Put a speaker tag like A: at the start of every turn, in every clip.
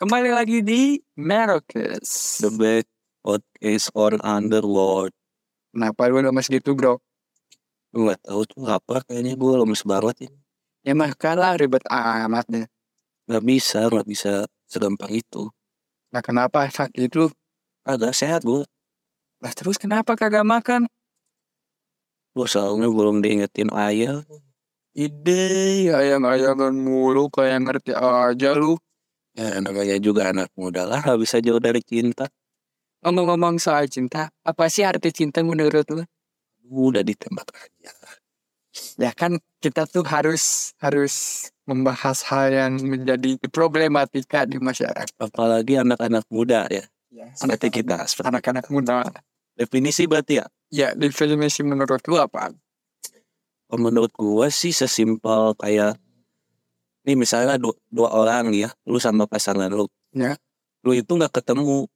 A: Kembali lagi di Merokes.
B: The best podcast on Underlord.
A: Kenapa lu lemes gitu bro?
B: Gue gak tau tuh apa kayaknya gue lemes banget ini.
A: Ya mah kalah ribet amat ya. deh.
B: Gak bisa, gak bisa segampang itu.
A: Nah kenapa sakit lu?
B: Ada sehat gue.
A: Lah terus kenapa kagak makan?
B: Gue soalnya belum diingetin ayah.
A: Ide ayang-ayangan mulu kayak ngerti aja lu.
B: Ya namanya juga anak muda lah habis aja dari cinta.
A: Ngomong-ngomong soal cinta, apa sih arti cinta menurut lu?
B: Udah ditembak aja.
A: Ya kan kita tuh harus harus membahas hal yang menjadi problematika di masyarakat.
B: Apalagi anak-anak muda ya.
A: Iya. Anak-anak-
B: Seperti kita. Seperti
A: Anak-anak muda.
B: Definisi berarti ya.
A: Ya definisi menurut lu apa?
B: Kalau Menurut gue sih sesimpel kayak. Nih misalnya dua, dua orang ya. Lu sama pasangan lu.
A: Ya.
B: Lu itu gak ketemu.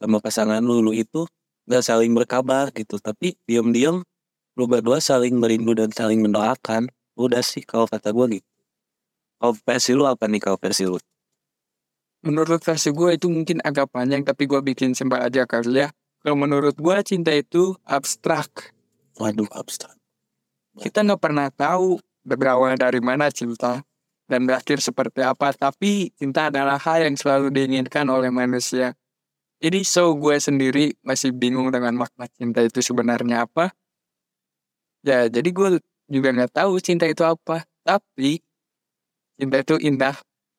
B: Sama pasangan lu. Lu itu gak saling berkabar gitu. Tapi diam-diam. Lu berdua saling merindu dan saling mendoakan. Udah sih kalau kata gue gitu. Kalau versi lu apa nih kalau versi lu?
A: Menurut versi gue itu mungkin agak panjang tapi gue bikin simpel aja kali ya. Kalau menurut gue cinta itu abstrak.
B: Waduh abstrak.
A: Kita nggak pernah tahu berawal dari mana cinta dan berakhir seperti apa. Tapi cinta adalah hal yang selalu diinginkan oleh manusia. Jadi so gue sendiri masih bingung dengan makna cinta itu sebenarnya apa. Ya jadi gue juga nggak tahu cinta itu apa. Tapi cinta itu indah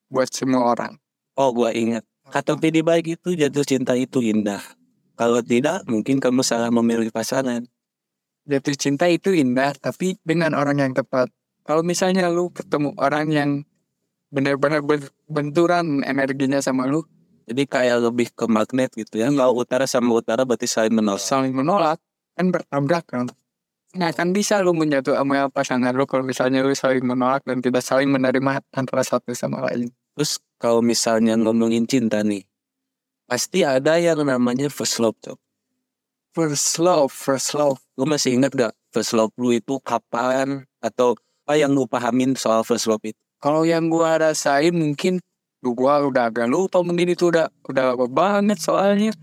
A: buat semua orang.
B: Oh gua ingat Kata pilih baik itu jatuh cinta itu indah Kalau tidak mungkin kamu salah memilih pasangan
A: jatuh cinta itu indah tapi dengan orang yang tepat kalau misalnya lu ketemu orang yang benar-benar ber- benturan energinya sama lu
B: Jadi kayak lebih ke magnet gitu ya Kalau utara sama utara berarti saling menolak
A: saling menolak kan bertabrakan nah kan bisa lu menyatu sama pasangan lu kalau misalnya lu saling menolak dan tidak saling menerima antara satu sama lain
B: Terus kalau misalnya ngomongin cinta nih Pasti ada yang namanya first love tuh
A: first love first love
B: Lu masih ingat gak first love lu itu kapan Atau apa yang lu pahamin soal first love itu
A: kalau yang gua rasain mungkin lu gua udah agak lupa mungkin itu udah udah lama banget soalnya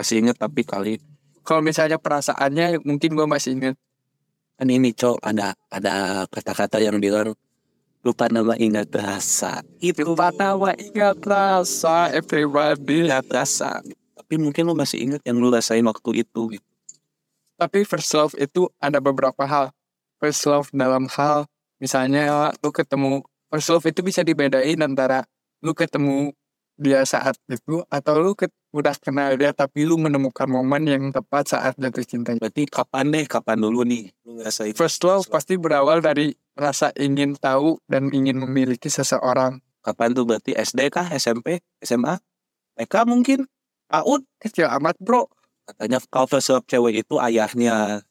B: Masih ingat tapi kali
A: kalau misalnya perasaannya mungkin gua masih ingat
B: Kan ini cok ada ada kata-kata yang bilang Lupa nama ingat rasa
A: Itu Patawa ingat rasa everybody
B: Ingat rasa Tapi mungkin lu masih ingat yang lu rasain waktu itu gitu.
A: Tapi first love itu ada beberapa hal First love dalam hal Misalnya lu ketemu First love itu bisa dibedain antara Lu ketemu dia saat itu Atau lu ke- udah kenal dia Tapi lu menemukan momen yang tepat saat jatuh cinta
B: Berarti kapan deh, kapan dulu nih lu ngerasain
A: First love pasti berawal dari rasa ingin tahu dan ingin memiliki seseorang
B: kapan tuh berarti SD kah, SMP, SMA, TK mungkin, PAUD.
A: Kecil amat bro
B: Katanya kalau first love cewek itu ayahnya,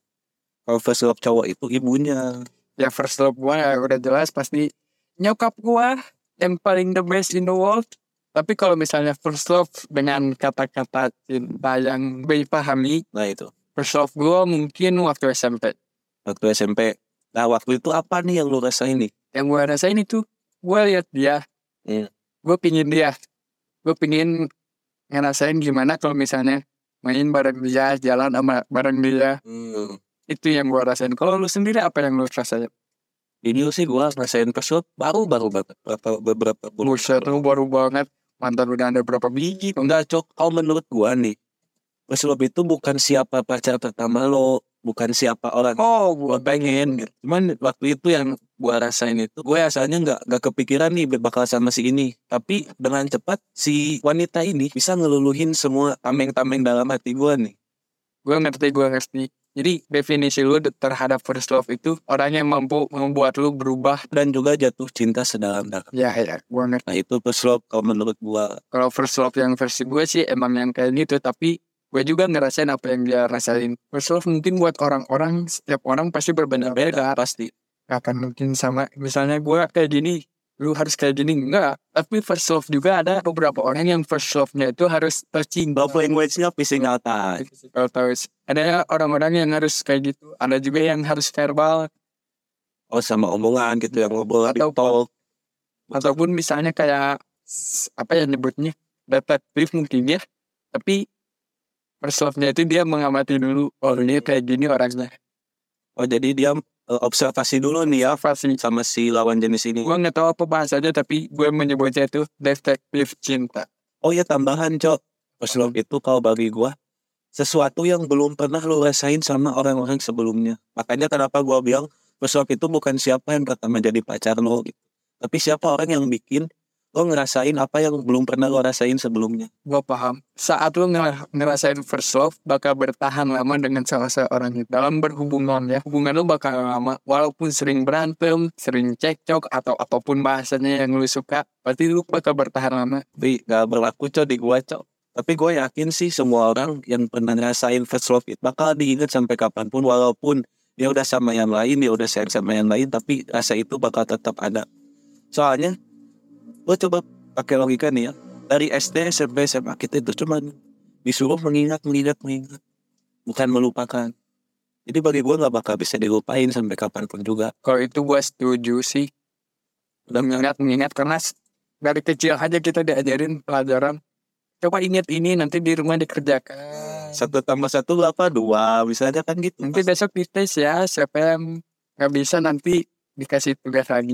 B: kalau first love cowok itu ibunya.
A: ya first love gue udah jelas pasti nyokap gue yang paling the best in the world tapi kalau misalnya first love dengan kata-kata cinta yang gue pahami
B: Nah itu
A: first love gue mungkin waktu SMP
B: waktu SMP. Nah waktu itu apa nih yang lu rasain nih?
A: yang gue rasain itu gue lihat dia
B: Iya.
A: gue pingin dia gue pingin ngerasain gimana kalau misalnya main bareng dia jalan sama bareng dia
B: Hmm,
A: itu yang gue rasain kalau lu sendiri apa yang lu rasain
B: Ini sih gua ngerasain first love baru baru banget, beberapa beberapa bulan.
A: buset lu baru banget mantan udah ada berapa biji
B: Enggak cok, kalau menurut gua nih First love itu bukan siapa pacar pertama lo Bukan siapa orang
A: oh
B: gua pengen gitu. Cuman waktu itu yang gua rasain itu Gue asalnya nggak nggak kepikiran nih bakal sama si ini Tapi dengan cepat si wanita ini bisa ngeluluhin semua tameng-tameng dalam hati gua nih
A: gue ngerti gue ngerti jadi definisi lu de- terhadap first love itu orang yang mampu membuat lu berubah
B: Dan juga jatuh cinta sedalam-dalam
A: ya ya gue ngerti
B: Nah itu first love kalau menurut gua
A: kalau first love yang versi gue sih emang yang kayak gitu tapi gue juga ngerasain apa yang dia rasain first love mungkin buat orang-orang setiap orang pasti berbeda-beda
B: beda pasti
A: gak akan mungkin sama misalnya gue kayak gini lu harus kayak gini enggak tapi first love juga ada beberapa orang yang first love-nya itu harus touching
B: Love language-nya physical touch
A: Physical touch. ada orang-orang yang harus kayak gitu ada juga yang harus verbal
B: Oh sama omongan gitu yang ngobrol di
A: Atau-
B: tol
A: ataupun misalnya kayak s- apa ya nyebutnya detektif mungkin ya tapi first love-nya itu dia mengamati dulu oh ini kayak gini orangnya
B: Oh jadi dia eh, observasi dulu nih ya
A: apa sih
B: sama si lawan jenis ini.
A: gue nggak tahu apa bahasanya tapi gue menyebutnya itu detektif cinta
B: Oh ya tambahan cok. First love itu kalau bagi gua sesuatu yang belum pernah lu rasain sama orang-orang sebelumnya. Makanya kenapa gua bilang first love itu bukan siapa yang pertama jadi pacar lo gitu. Tapi siapa orang yang bikin lo ngerasain apa yang belum pernah lo rasain sebelumnya.
A: gue paham saat lu ngera- ngerasain first love bakal bertahan lama dengan salah seorang itu dalam berhubungan ya hubungan lu bakal lama walaupun sering berantem sering cekcok atau apapun bahasanya yang lu suka pasti lu bakal bertahan lama
B: Tapi gak berlaku cok di gua cok. Tapi gue yakin sih semua orang yang pernah ngerasain first love itu bakal diingat sampai kapanpun walaupun dia udah sama yang lain, dia udah sayang sama yang lain, tapi rasa itu bakal tetap ada. Soalnya lo coba pakai logika nih ya dari SD SMP SMA kita itu cuman disuruh mengingat mengingat mengingat bukan melupakan jadi bagi gue nggak bakal bisa dilupain sampai kapanpun juga
A: kalau itu gue setuju sih
B: udah nggak-
A: mengingat mengingat karena s- dari kecil aja kita diajarin pelajaran coba ingat ini nanti di rumah dikerjakan
B: satu tambah satu berapa dua misalnya kan gitu
A: nanti besok di tes ya siapa yang nggak bisa nanti dikasih tugas lagi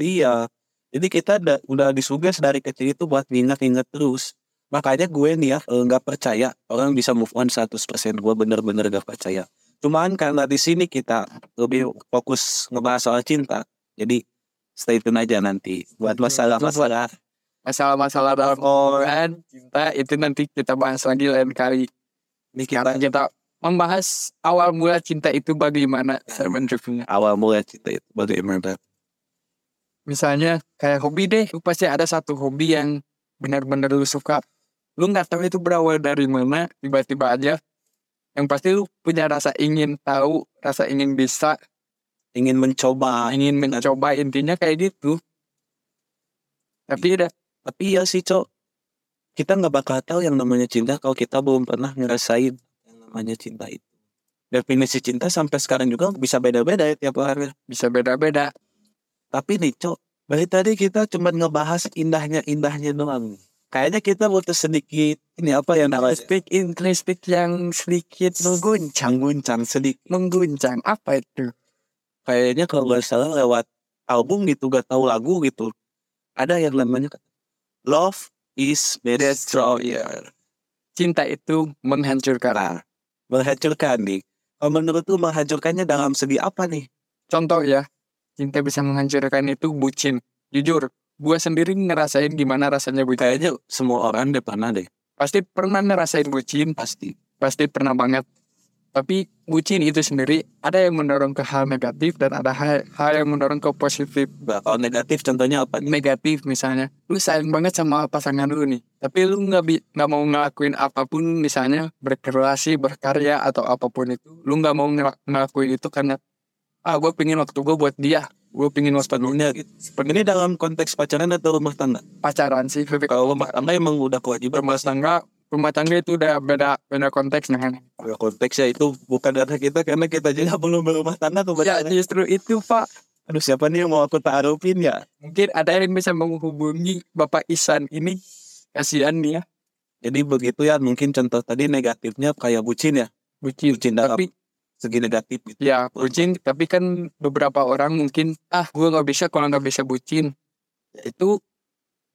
B: Iya. Jadi kita da- udah disuges dari kecil itu buat nginget-nginget terus. Makanya gue nih ya eh, nggak percaya orang bisa move on 100%. Gue bener-bener gak percaya. Cuman karena di sini kita lebih fokus ngebahas soal cinta. Jadi stay tune aja nanti buat masalah-masalah.
A: masalah-masalah dalam orang cinta itu nanti kita bahas lagi lain kali
B: Ini kita
A: karena kita membahas awal mula cinta itu bagaimana saya mendukungnya
B: awal mulai cinta itu bagaimana.
A: misalnya kayak hobi deh lu pasti ada satu hobi yang benar-benar lu suka lu nggak tahu itu berawal dari mana tiba-tiba aja yang pasti lu punya rasa ingin tahu rasa ingin bisa
B: Ingin mencoba.
A: ingin mencoba intinya kayak gitu tapi udah
B: Tapi ya sih cok. Kita nggak bakal tahu yang namanya cinta kalau kita belum pernah ngerasain yang namanya cinta itu. Definisi cinta sampai sekarang juga bisa beda-beda ya tiap orang.
A: bisa beda-beda
B: Tapi nih Cok, dari tadi kita cuma ngebahas indahnya-indahnya doang. Kayaknya kita butuh sedikit, ini apa yang namanya?
A: speak English speak yang sedikit
B: Mengguncang-guncang sedikit.
A: mengguncang apa itu
B: Kayaknya kalau nggak salah lewat album gitu, gak tahu lagu gitu. Ada yang namanya Love is Destroyer.
A: cinta itu menghancurkan
B: Nah, menghancurkan nih. Kalau menurut lu menghancurkannya dalam segi apa nih?
A: contoh ya cinta bisa menghancurkan itu bucin jujur gua sendiri ngerasain gimana rasanya bucin
B: Kayaknya semua orang udah pernah deh,
A: pasti pernah ngerasain bucin
B: pasti.
A: pasti pernah banget tapi bucin itu sendiri ada yang mendorong ke hal negatif dan ada hal, hal yang mendorong ke positif
B: Nah, Kalau negatif contohnya apa nih?
A: negatif misalnya lu sayang banget sama pasangan lu nih tapi lu nggak bi- nggak mau ngelakuin apapun misalnya berkreasi berkarya atau apapun itu lu nggak mau ngela- ngelakuin itu karena ah gue pengen waktu gue buat dia gue pengen waktu gue
B: Sepenuhnya gitu. Ini dalam konteks pacaran atau rumah tangga?
A: pacaran sih tapi kalau
B: kalau rumah tangga emang udah kewajiban
A: rumah tangga rumah tangga itu udah beda beda konteksnya kan
B: Ya, konteksnya itu bukan karena kita karena kita juga belum berumah tangga
A: ya
B: kebetulan
A: justru itu pak
B: aduh siapa nih yang mau aku taruhin ya
A: mungkin ada yang bisa menghubungi Bapak Isan ini kasihan ya, dia
B: jadi begitu ya mungkin contoh tadi negatifnya kayak bucin ya
A: bucin
B: Bucin dalam
A: tapi
B: segi negatif gitu.
A: ya bucin tapi kan beberapa orang mungkin ah gue nggak bisa kalau nggak bisa bucin Ya itu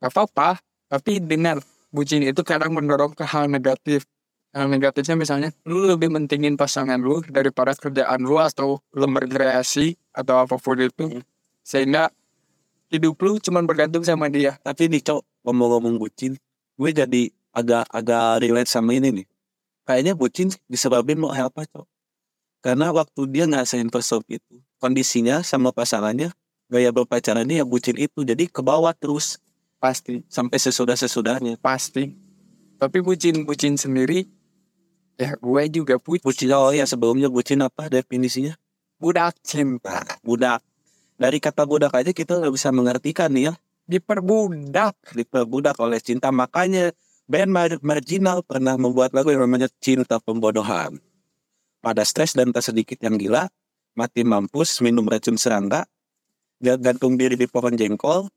A: nggak apa-apa tapi dengar bucin itu kadang mendorong ke hal negatif hal negatifnya misalnya lu lebih mentingin pasangan lu daripada kerjaan lu atau lu berkreasi atau apapun itu sehingga hidup lu cuma bergantung sama dia
B: tapi nih cok ngomong-ngomong bucin gue jadi agak agak relate sama ini nih kayaknya bucin disebabin mau apa cok karena waktu dia ngasain first love itu kondisinya sama pasangannya gaya berpacarannya ya bucin itu jadi ke bawah terus
A: pasti
B: sampai sesudah sesudahnya
A: pasti tapi bucin bucin sendiri ya gue juga bucin
B: Bucin oh ya sebelumnya bucin apa definisinya?
A: budak cinta
B: Budak. Dari kata budak aja kita nggak bisa mengartikan nih ya.
A: diperbudak
B: Diperbudak oleh cinta makanya band Mar- marginal pernah membuat lagu yang namanya Cinta Pembodohan. Pada stres dan tak sedikit yang gila, mati mampus, minum racun serangga, dan gantung diri di pohon jengkol,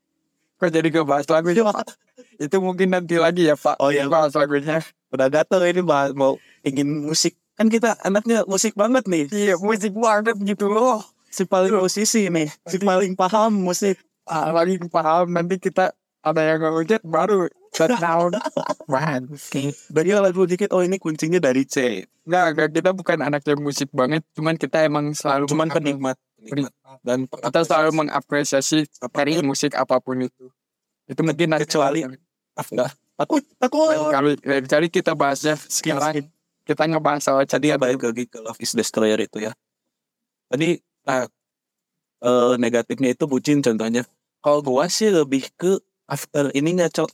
A: Kok jadi ngebahas lagunya ya, Pak? Itu mungkin nanti lagi ya Pak.
B: Oh, iya.
A: Bahas lagunya.
B: Udah gatel ini bahas mau ingin musik. Kan kita anaknya musik banget nih.
A: Iya musik banget gitu loh.
B: Si paling musisi nih. Si paling paham musik.
A: Ah, lagi paham nanti kita ada yang ngehujat baru shutdown. Man.
B: Bagi alat dulu dikit, oh ini kuncinya dari C.
A: Nggak, nggak, kita bukan anak yang musik banget. Cuman kita emang selalu
B: Cuman
A: mengap-
B: penikmat. penikmat. Dan
A: Kita selalu mengapresiasi dari musik apapun itu. Itu mungkin nanti
B: Kecuali- Enggak. Takut,
A: lain
B: takut.
A: kali lain kali eh, kita bahasnya sekarang kita ngebahas soal jadi
B: Tadi ya balik lagi ke Love is Destroyer itu ya. Tadi, nah, eh, negatifnya itu bucin contohnya. Kalau gua sih lebih ke after ininya, cok.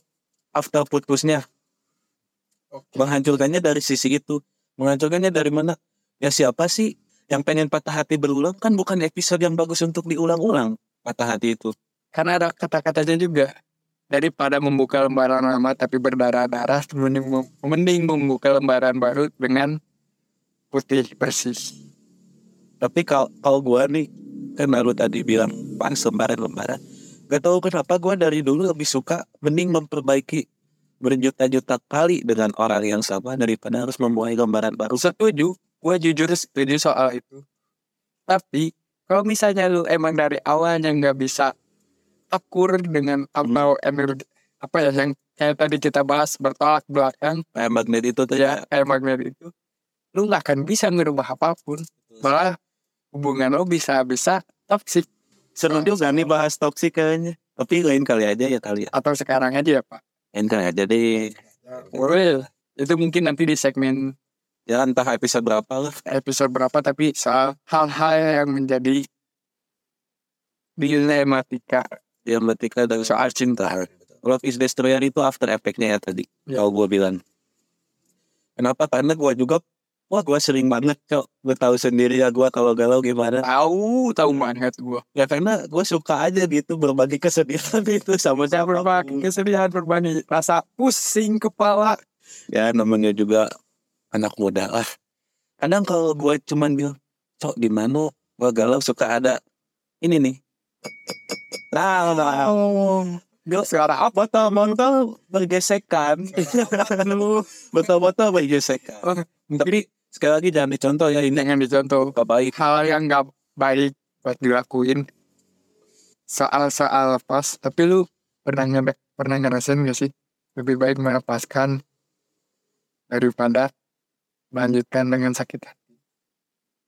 B: After putusnya. menghancurkannya dari sisi itu menghancurkannya dari mana ya siapa sih yang pengen patah hati berulang kan bukan episode yang bagus untuk diulang-ulang patah hati itu
A: karena ada kata-katanya juga daripada membuka lembaran lama tapi berdarah-darah mending, mem- mending membuka lembaran baru dengan putih bersih
B: tapi kalau kalau gua nih kan baru tadi bilang pas lembaran-lembaran gak tahu kenapa gua dari dulu lebih suka mending memperbaiki berjuta-juta kali dengan orang yang sama daripada harus membuat lembaran baru
A: setuju gue jujur setuju soal itu tapi kalau misalnya lu emang dari awalnya nggak bisa akur dengan atau energi apa ya yang kayak tadi kita bahas bertolak belakang
B: kayak magnet itu tuh
A: ya
B: ya
A: kayak magnet itu lu nggak akan bisa ngerubah apapun malah hubungan lo bisa bisa toxic
B: seru juga nih bahas toksik kayaknya tapi lain kali aja ya kali ya
A: atau sekarang aja ya pak
B: lain kali aja deh
A: Well, itu mungkin nanti di segmen
B: ya entah episode berapa lah
A: episode berapa tapi soal hal-hal yang menjadi dilematika
B: dilematika dari soal cinta. Love is Destroyer itu after effect-nya ya tadi.
A: Ya.
B: Kalau gue bilang. Kenapa? Karena gue juga, wah gue sering banget cok. Gue tahu sendiri ya gue kalau galau gimana.
A: tahu tahu banget gua
B: Ya karena gue suka aja gitu berbagi kesedihan itu sama
A: saya
B: siapa.
A: berapa kesedihan berbanding rasa pusing kepala
B: Ya namanya juga anak muda lah. Kadang kalau gue cuman bilang, cok di mana gue galau suka ada ini nih. Nah, nah,
A: Gak suara apa
B: botol-botol bergesekan botol-botol bergesekan
A: jadi
B: sekali lagi jangan dicontoh ya ini
A: dengan dicontoh
B: gak baik
A: hal yang nggak baik buat dilakuin soal-soal pas tapi lu pernah nge- pernah ngerasain gak sih lebih baik melepaskan daripada melanjutkan dengan sakit hati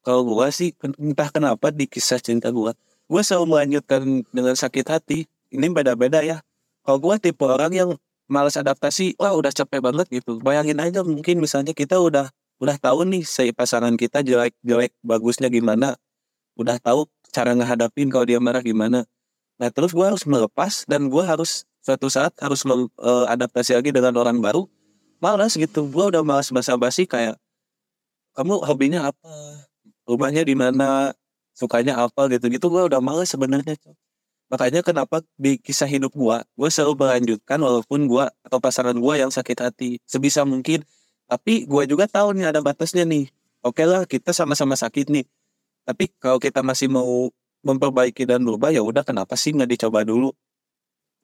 B: kalau gua sih ken- entah kenapa di kisah cinta gua gua selalu melanjutkan dengan sakit hati ini beda-beda ya kalau gua tipe orang yang malas adaptasi wah udah capek banget gitu bayangin aja mungkin misalnya kita udah udah tahu nih si pasangan kita jelek jelek bagusnya gimana udah tahu cara ngehadapin kalau dia marah gimana nah terus gua harus melepas dan gua harus suatu saat harus mel- eh, adaptasi lagi dengan orang baru malas gitu gua udah malas basa-basi kayak kamu hobinya apa rumahnya di mana sukanya apa gitu gitu gue udah males sebenarnya Cok. makanya kenapa di kisah hidup gue gue selalu melanjutkan walaupun gue atau pasangan gue yang sakit hati sebisa mungkin tapi gue juga tahu nih ada batasnya nih oke lah kita sama-sama sakit nih tapi kalau kita masih mau memperbaiki dan berubah ya udah kenapa sih nggak dicoba dulu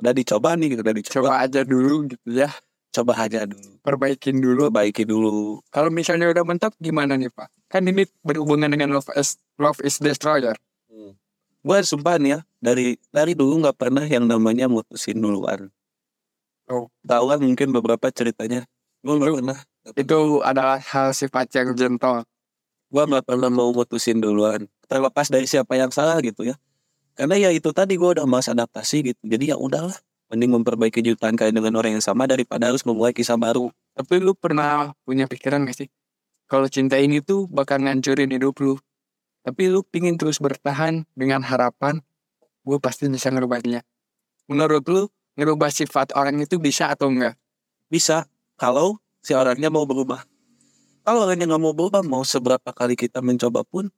B: udah dicoba nih udah dicoba
A: coba aja dulu gitu ya
B: coba aja dulu
A: perbaikin dulu
B: perbaiki dulu
A: kalau misalnya udah mentok gimana nih pak kan ini berhubungan dengan love is love is destroyer
B: gue Hmm. sumpah nih ya dari dari dulu nggak pernah yang namanya mutusin duluan
A: Oh.
B: tahu kan mungkin beberapa ceritanya gue nggak pernah
A: itu adalah hal sifat yang gentle
B: gue nggak pernah mau mutusin duluan terlepas dari siapa yang salah gitu ya karena ya itu tadi gue udah mas adaptasi gitu jadi ya udahlah mending memperbaiki jutaan kali dengan orang yang sama daripada harus memulai kisah baru
A: Tapi lu pernah punya pikiran gak sih? Kalau cinta ini tuh bakal ngancurin hidup lu. Tapi lu pingin terus bertahan dengan harapan, gue pasti bisa ngerubahnya. Menurut lu, ngerubah sifat orang itu bisa atau enggak?
B: bisa kalau si orangnya mau berubah kalau orangnya nggak mau berubah mau seberapa kali kita mencoba pun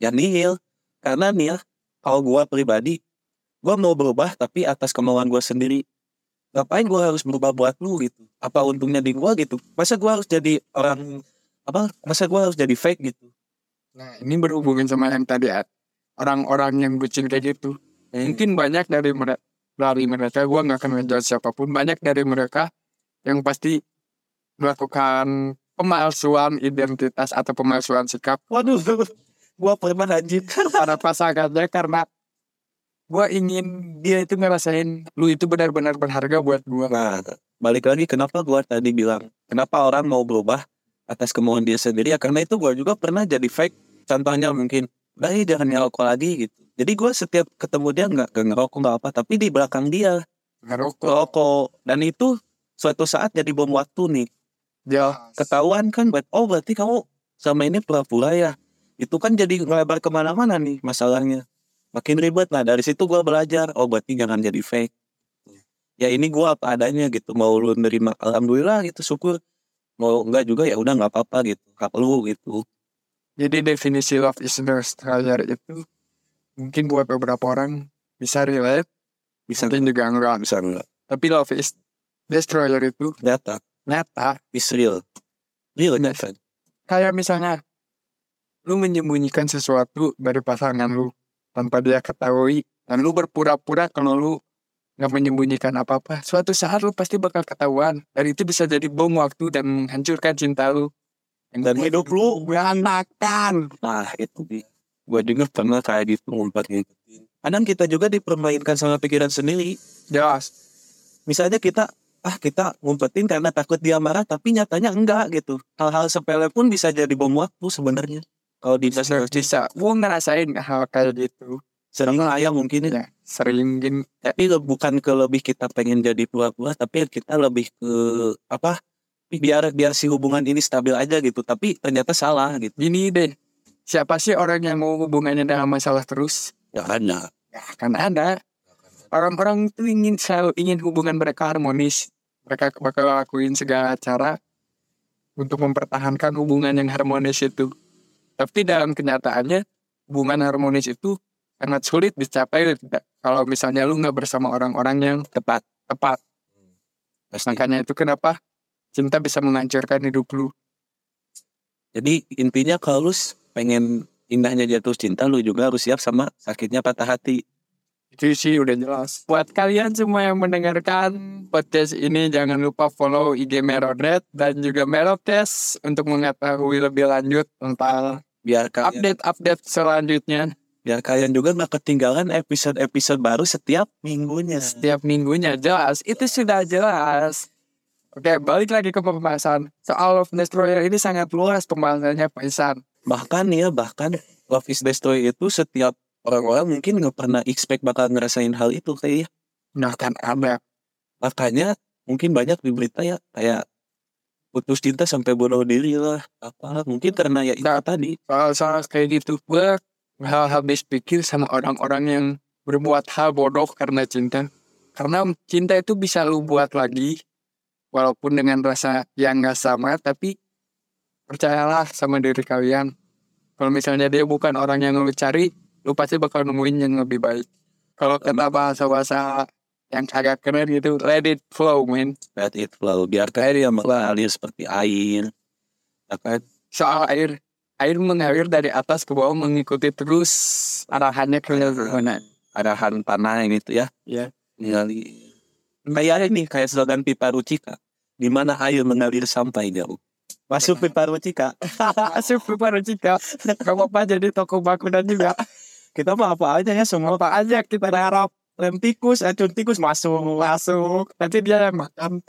B: ya nihil karena nih ya kalau gua pribadi gua mau berubah tapi atas kemauan gua sendiri ngapain gua harus berubah buat lu gitu apa untungnya di gua gitu masa gua harus jadi orang apa masa gua harus jadi fake gitu
A: Nah, ini berhubungan sama yang tadi, At. Orang-orang yang bucin kayak gitu.
B: Eh,
A: Mungkin banyak dari mereka dari mereka gue nggak akan ngejudge siapapun banyak dari mereka yang pasti melakukan pemalsuan identitas atau pemalsuan sikap
B: Waduh, gua pernah anjir.
A: pada pasangannya karena gue ingin dia itu ngerasain lu itu benar-benar berharga buat gue
B: Nah, balik lagi kenapa gua tadi bilang kenapa orang mau berubah atas kemauan dia sendiri ya karena itu gua juga pernah jadi fake. Contohnya mungkin, dari jangan ngerokok lagi gitu. Jadi gua setiap ketemu dia nggak nggak ngerokok nggak apa, tapi di belakang dia
A: ngerokok
B: rokok dan itu suatu saat jadi bom waktu nih.
A: ya
B: Ketahuan kan, buat oh berarti kamu selama ini pura-pura ya. Itu kan jadi ngelebar kemana-mana nih masalahnya. Makin ribet lah dari situ gua belajar oh berarti jangan jadi fake. Ya ini gua apa adanya gitu mau lu nerima alhamdulillah gitu syukur mau enggak juga ya udah nggak apa-apa gitu hak lu gitu
A: jadi definisi love is no stranger itu mungkin buat beberapa orang bisa relate
B: bisa
A: mungkin juga enggak
B: bisa enggak
A: tapi love is destroyer itu
B: data
A: nyata
B: is real real
A: Benar.
B: kan
A: kayak misalnya lu menyembunyikan sesuatu dari pasangan lu tanpa dia ketahui dan lu berpura-pura kalau lu nggak menyembunyikan apa-apa suatu saat lu pasti bakal ketahuan dan itu bisa jadi bom waktu dan menghancurkan cinta lu
B: Dan hidup lu.
A: berantakan
B: Nah itu di gue juga pernah kayak gitu ngumpetnya kadang kita juga dipermainkan sama pikiran sendiri
A: jelas
B: misalnya kita ah kita ngumpetin karena takut dia marah tapi nyatanya enggak gitu hal-hal sepele pun bisa jadi bom waktu sebenarnya kalau di
A: bisa bisa gua ngerasain hal kayak gitu
B: sedang ayam mungkin
A: ya
B: ya.
A: sering mungkin kayak
B: tapi le- bukan ke lebih kita pengen jadi pura-pura tapi kita lebih ke apa biar biar si hubungan ini stabil aja gitu tapi ternyata salah gitu
A: gini deh siapa sih orang yang mau hubungannya dengan masalah terus
B: ya ada
A: Ya, kan ada. Orang-orang itu ingin selalu ingin hubungan mereka harmonis. Mereka bakal lakuin segala cara untuk mempertahankan hubungan yang harmonis itu. Tapi dalam kenyataannya, hubungan harmonis itu sangat sulit dicapai kalau misalnya lu nggak bersama orang-orang yang
B: tepat
A: tepat.
B: pasti
A: Makanya itu kenapa cinta bisa menghancurkan hidup lu.
B: Jadi intinya kalau lu s- pengen indahnya jatuh cinta lu juga harus siap sama sakitnya patah hati.
A: Itu sih udah jelas. Buat kalian semua yang mendengarkan podcast ini jangan lupa follow IG Merodet dan juga Merotes untuk mengetahui lebih lanjut tentang
B: Biar kalian,
A: update-update selanjutnya
B: biar kalian juga nggak ketinggalan episode-episode baru setiap minggunya.
A: setiap minggunya jelas. Itu sudah jelas. Oke, balik lagi ke pembahasan. Soal Love Destroyer ini sangat luas pembahasannya Paisan.
B: Bahkan ya bahkan Love is Destroy itu setiap orang-orang mungkin nggak pernah expect bakal ngerasain hal itu kayak iya.
A: Nah kan ada.
B: makanya mungkin banyak di berita ya kayak putus cinta sampai bunuh diri lah apa mungkin karena ya itu
A: Nah.
B: tadi
A: Soal-soal kayak gitu gue hal habis pikir sama orang-orang yang berbuat hal bodoh karena cinta. Karena cinta itu bisa lu buat lagi walaupun dengan rasa yang gak sama tapi percayalah sama diri kalian. Kalau misalnya dia bukan orang yang lu cari, lu pasti bakal nemuin yang lebih baik. Kalau kata bahasa-bahasa yang agak keren gitu, let it flow, man.
B: let it flow biar kayak dia mengalir seperti air ya kan?
A: soal air air mengalir dari atas ke bawah mengikuti terus arahannya ke mana
B: arahan tanah gitu ya.
A: Iya.
B: Ningali. Kayak ini kayak slogan pipa rucika. Di mana air mengalir sampai jauh. Masuk pipa rucika.
A: asli baru jika kamu apa jadi toko bangunan juga
B: Kita mah apa aja ya semua.
A: apa aja kita harap
B: Lem tikus, acun tikus masuk.
A: masuk nanti dia yang makan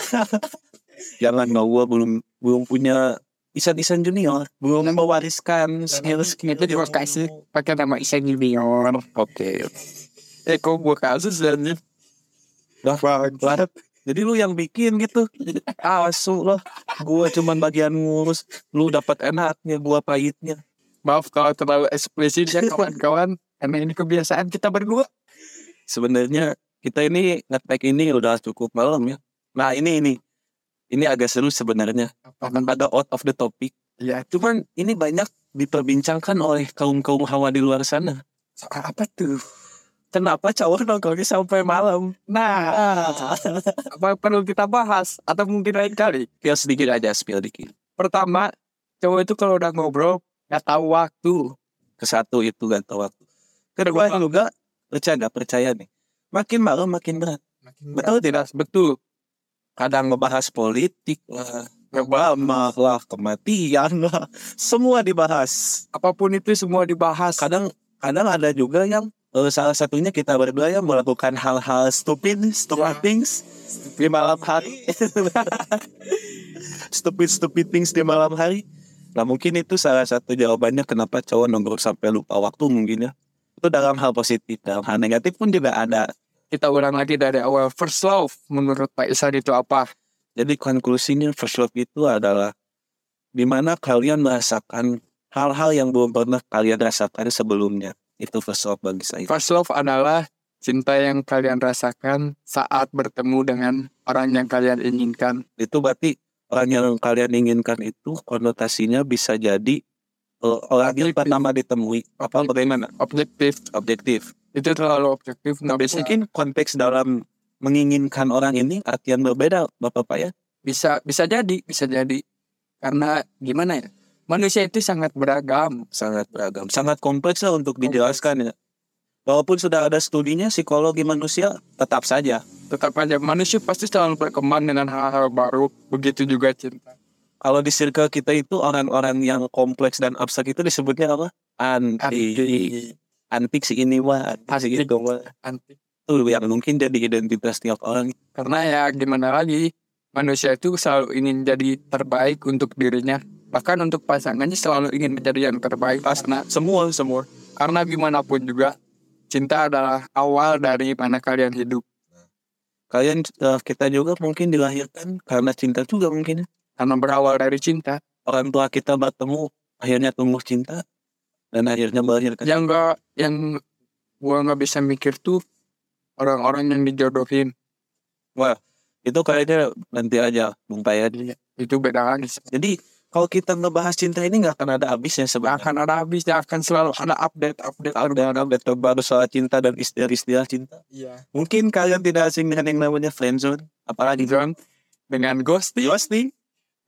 B: Jangan nggak gua belum belum punya isan-isan junior. Belum mewariskan gitu. skill skill
A: itu juga kasih pakai nama Isa Junior
B: Oke.
A: eh kok gue kasus dan
B: Dah. Lah, Jadi lu yang bikin gitu. Asu loh. Gua cuman bagian ngurus. Lu dapat enaknya, gua pahitnya.
A: maaf kalau terlalu eksplisit ya kawan-kawan karena ini kebiasaan kita berdua
B: sebenarnya kita ini ngetek ini udah cukup malam ya. Nah ini ini ini agak seru sebenarnya. Ada out of the topic.
A: ya
B: Cuman ini banyak diperbincangkan oleh kaum kaum hawa di luar sana.
A: soal apa tuh
B: Kenapa cowok nongkrongnya sampai malam?
A: nah
B: Ah,
A: apa perlu kita bahas atau mungkin lain kali
B: spill sedikit aja, spill dikit.
A: pertama cowok itu kalau udah ngobrol nggak tahu waktu
B: kan, Kesatu itu gak tahu waktu. Kedua juga percaya nggak percaya nih. Makin malam makin berat. Betul tidak?
A: betul
B: Kadang ngebahas politik lah, Obama lah, kematian lah, semua dibahas.
A: apapun itu semua dibahas
B: Kadang kadang ada juga yang eh, salah satunya kita berdua yang melakukan hal-hal stupid, stupid things di malam hari. stupid stupid things di malam hari. Nah mungkin itu salah satu jawabannya kenapa cowok nongkrong sampai lupa waktu mungkin ya. Itu dalam hal positif, dalam hal negatif pun juga ada.
A: kita ulang lagi dari awal first love menurut Pak Isan itu apa
B: Jadi konklusinya first love itu adalah dimana kalian merasakan hal-hal yang belum pernah kalian rasakan sebelumnya. Itu first love bagi saya.
A: first love adalah cinta yang kalian rasakan saat bertemu dengan orang yang kalian inginkan
B: Itu berarti orang yang kalian inginkan itu konotasinya bisa jadi eh, orang yang
A: Objektif.
B: pertama ditemui. Apa bagaimana?
A: objektif
B: Objektif.
A: itu terlalu objektif nggak bisa
B: Mungkin konteks dalam menginginkan orang ini artian berbeda Bapak-Bapak ya.
A: bisa bisa jadi bisa jadi karena gimana ya manusia itu sangat beragam
B: Sangat beragam. Sangat kompleks lah untuk dijelaskan ya. Walaupun sudah ada studinya psikologi manusia tetap saja
A: tetap aja manusia pasti selalu berkembang dengan hal-hal baru begitu juga cinta
B: kalau di circle kita itu orang-orang yang kompleks dan abstrak itu disebutnya apa? Anti. Antik si ini wah, antik si
A: Antik.
B: itu wah.
A: antik
B: Itu yang mungkin jadi identitas tiap orang.
A: karena ya gimana lagi manusia itu selalu ingin jadi terbaik untuk dirinya bahkan untuk pasangannya selalu ingin menjadi yang terbaik karena
B: Semua, semua.
A: karena gimana pun juga cinta adalah awal dari mana kalian hidup
B: Kalian eh, kita juga mungkin dilahirkan karena cinta juga mungkin. ya.
A: karena berawal dari cinta
B: Orang tua kita bertemu, akhirnya tumbuh cinta dan akhirnya melahirkan.
A: yang gak yang gua nggak bisa mikir tuh orang-orang yang dijodohin
B: Itu kayaknya nanti aja Bung Payadi.
A: itu beda lagi
B: Jadi kalau kita ngebahas cinta ini nggak akan ada habisnya
A: Nggak
B: sebenarnya.
A: akan ada habisnya akan selalu ada update update
B: Ada update terbaru soal cinta dan istilah-istilah cinta.
A: iya
B: Mungkin kalian tidak asing dengan yang namanya friendzone, apalagi
A: dengan ghosting
B: ghosting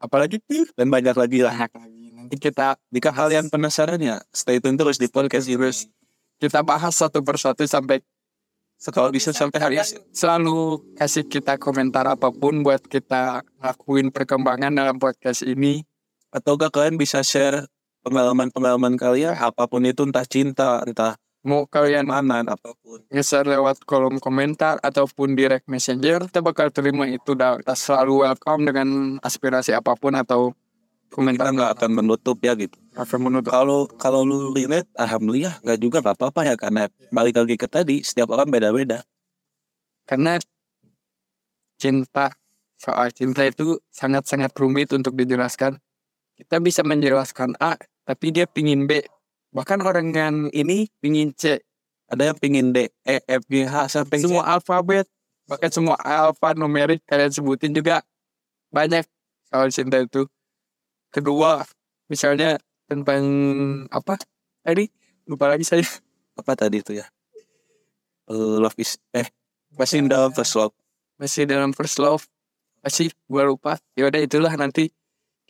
A: apalagi tuh
B: dan banyak lagi lah.
A: banyak lagi nanti kita
B: Jika kalian penasaran ya, stay tune terus di podcast
A: Terus.
B: terus.
A: kita bahas satu persatu sampai
B: Kalau bisa
A: Iya,
B: sampai hari Senin.
A: selalu kasih kita komentar apapun buat kita lakuin perkembangan dalam podcast ini
B: atau enggak kalian bisa share pengalaman-pengalaman kalian apapun itu entah cinta, entah
A: mau kalian
B: pertemanan, apapun.
A: ngeser lewat kolom komentar ataupun direct messenger kita bakal terima itu dan kita selalu welcome dengan aspirasi apapun atau
B: Kita
A: komentar
B: nggak akan menutup ya gitu.
A: akan menutup
B: Kalau kalau lu relate, alhamdulillah nggak juga nggak apa-apa ya karena balik lagi ke tadi setiap orang beda-beda.
A: karena cinta soal cinta itu sangat-sangat rumit untuk dijelaskan kita bisa menjelaskan A tapi dia pingin B bahkan orang yang ini pingin C
B: Ada yang pingin D, E, F, G, H sampai Z.
A: semua alfabet bahkan semua alfanumerik kalian sebutin juga banyak soal cinta itu kedua misalnya tentang apa tadi lupa lagi saya
B: apa tadi itu ya? Eh, love is eh masih dalam first love.
A: masih dalam first love masih gua lupa yaudah itulah nanti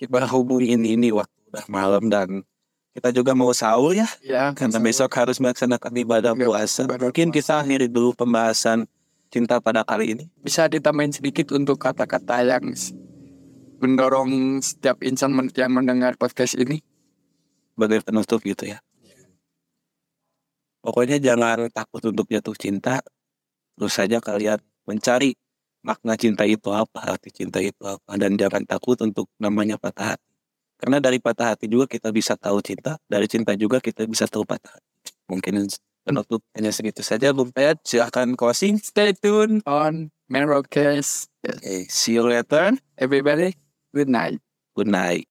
B: berhubung ini ini waktu udah malam dan kita juga mau sahur ya
A: ya
B: karena besok harus melaksanakan ibadah
A: Iya,
B: puasa.
A: ibadah puasa.
B: Mungkin kita akhiri dulu pembahasan cinta pada kali ini.
A: bisa ditambahin sedikit untuk kata-kata yang s- mendorong setiap insan men- yang mendengar podcast ini
B: sebagai penutup gitu ya. Pokoknya jangan takut untuk jatuh cinta. Terus saja kalian mencari makna cinta itu apa, arti cinta itu apa. Dan jangan takut untuk namanya patah hati. Karena dari patah hati juga kita bisa tahu cinta. Dari cinta juga kita bisa tahu patah hati. Mungkin penutup hanya segitu saja. Bung Payat silahkan closing.
A: stay tuned on Merocast
B: Okay, see you later.
A: everybody good night
B: Good night.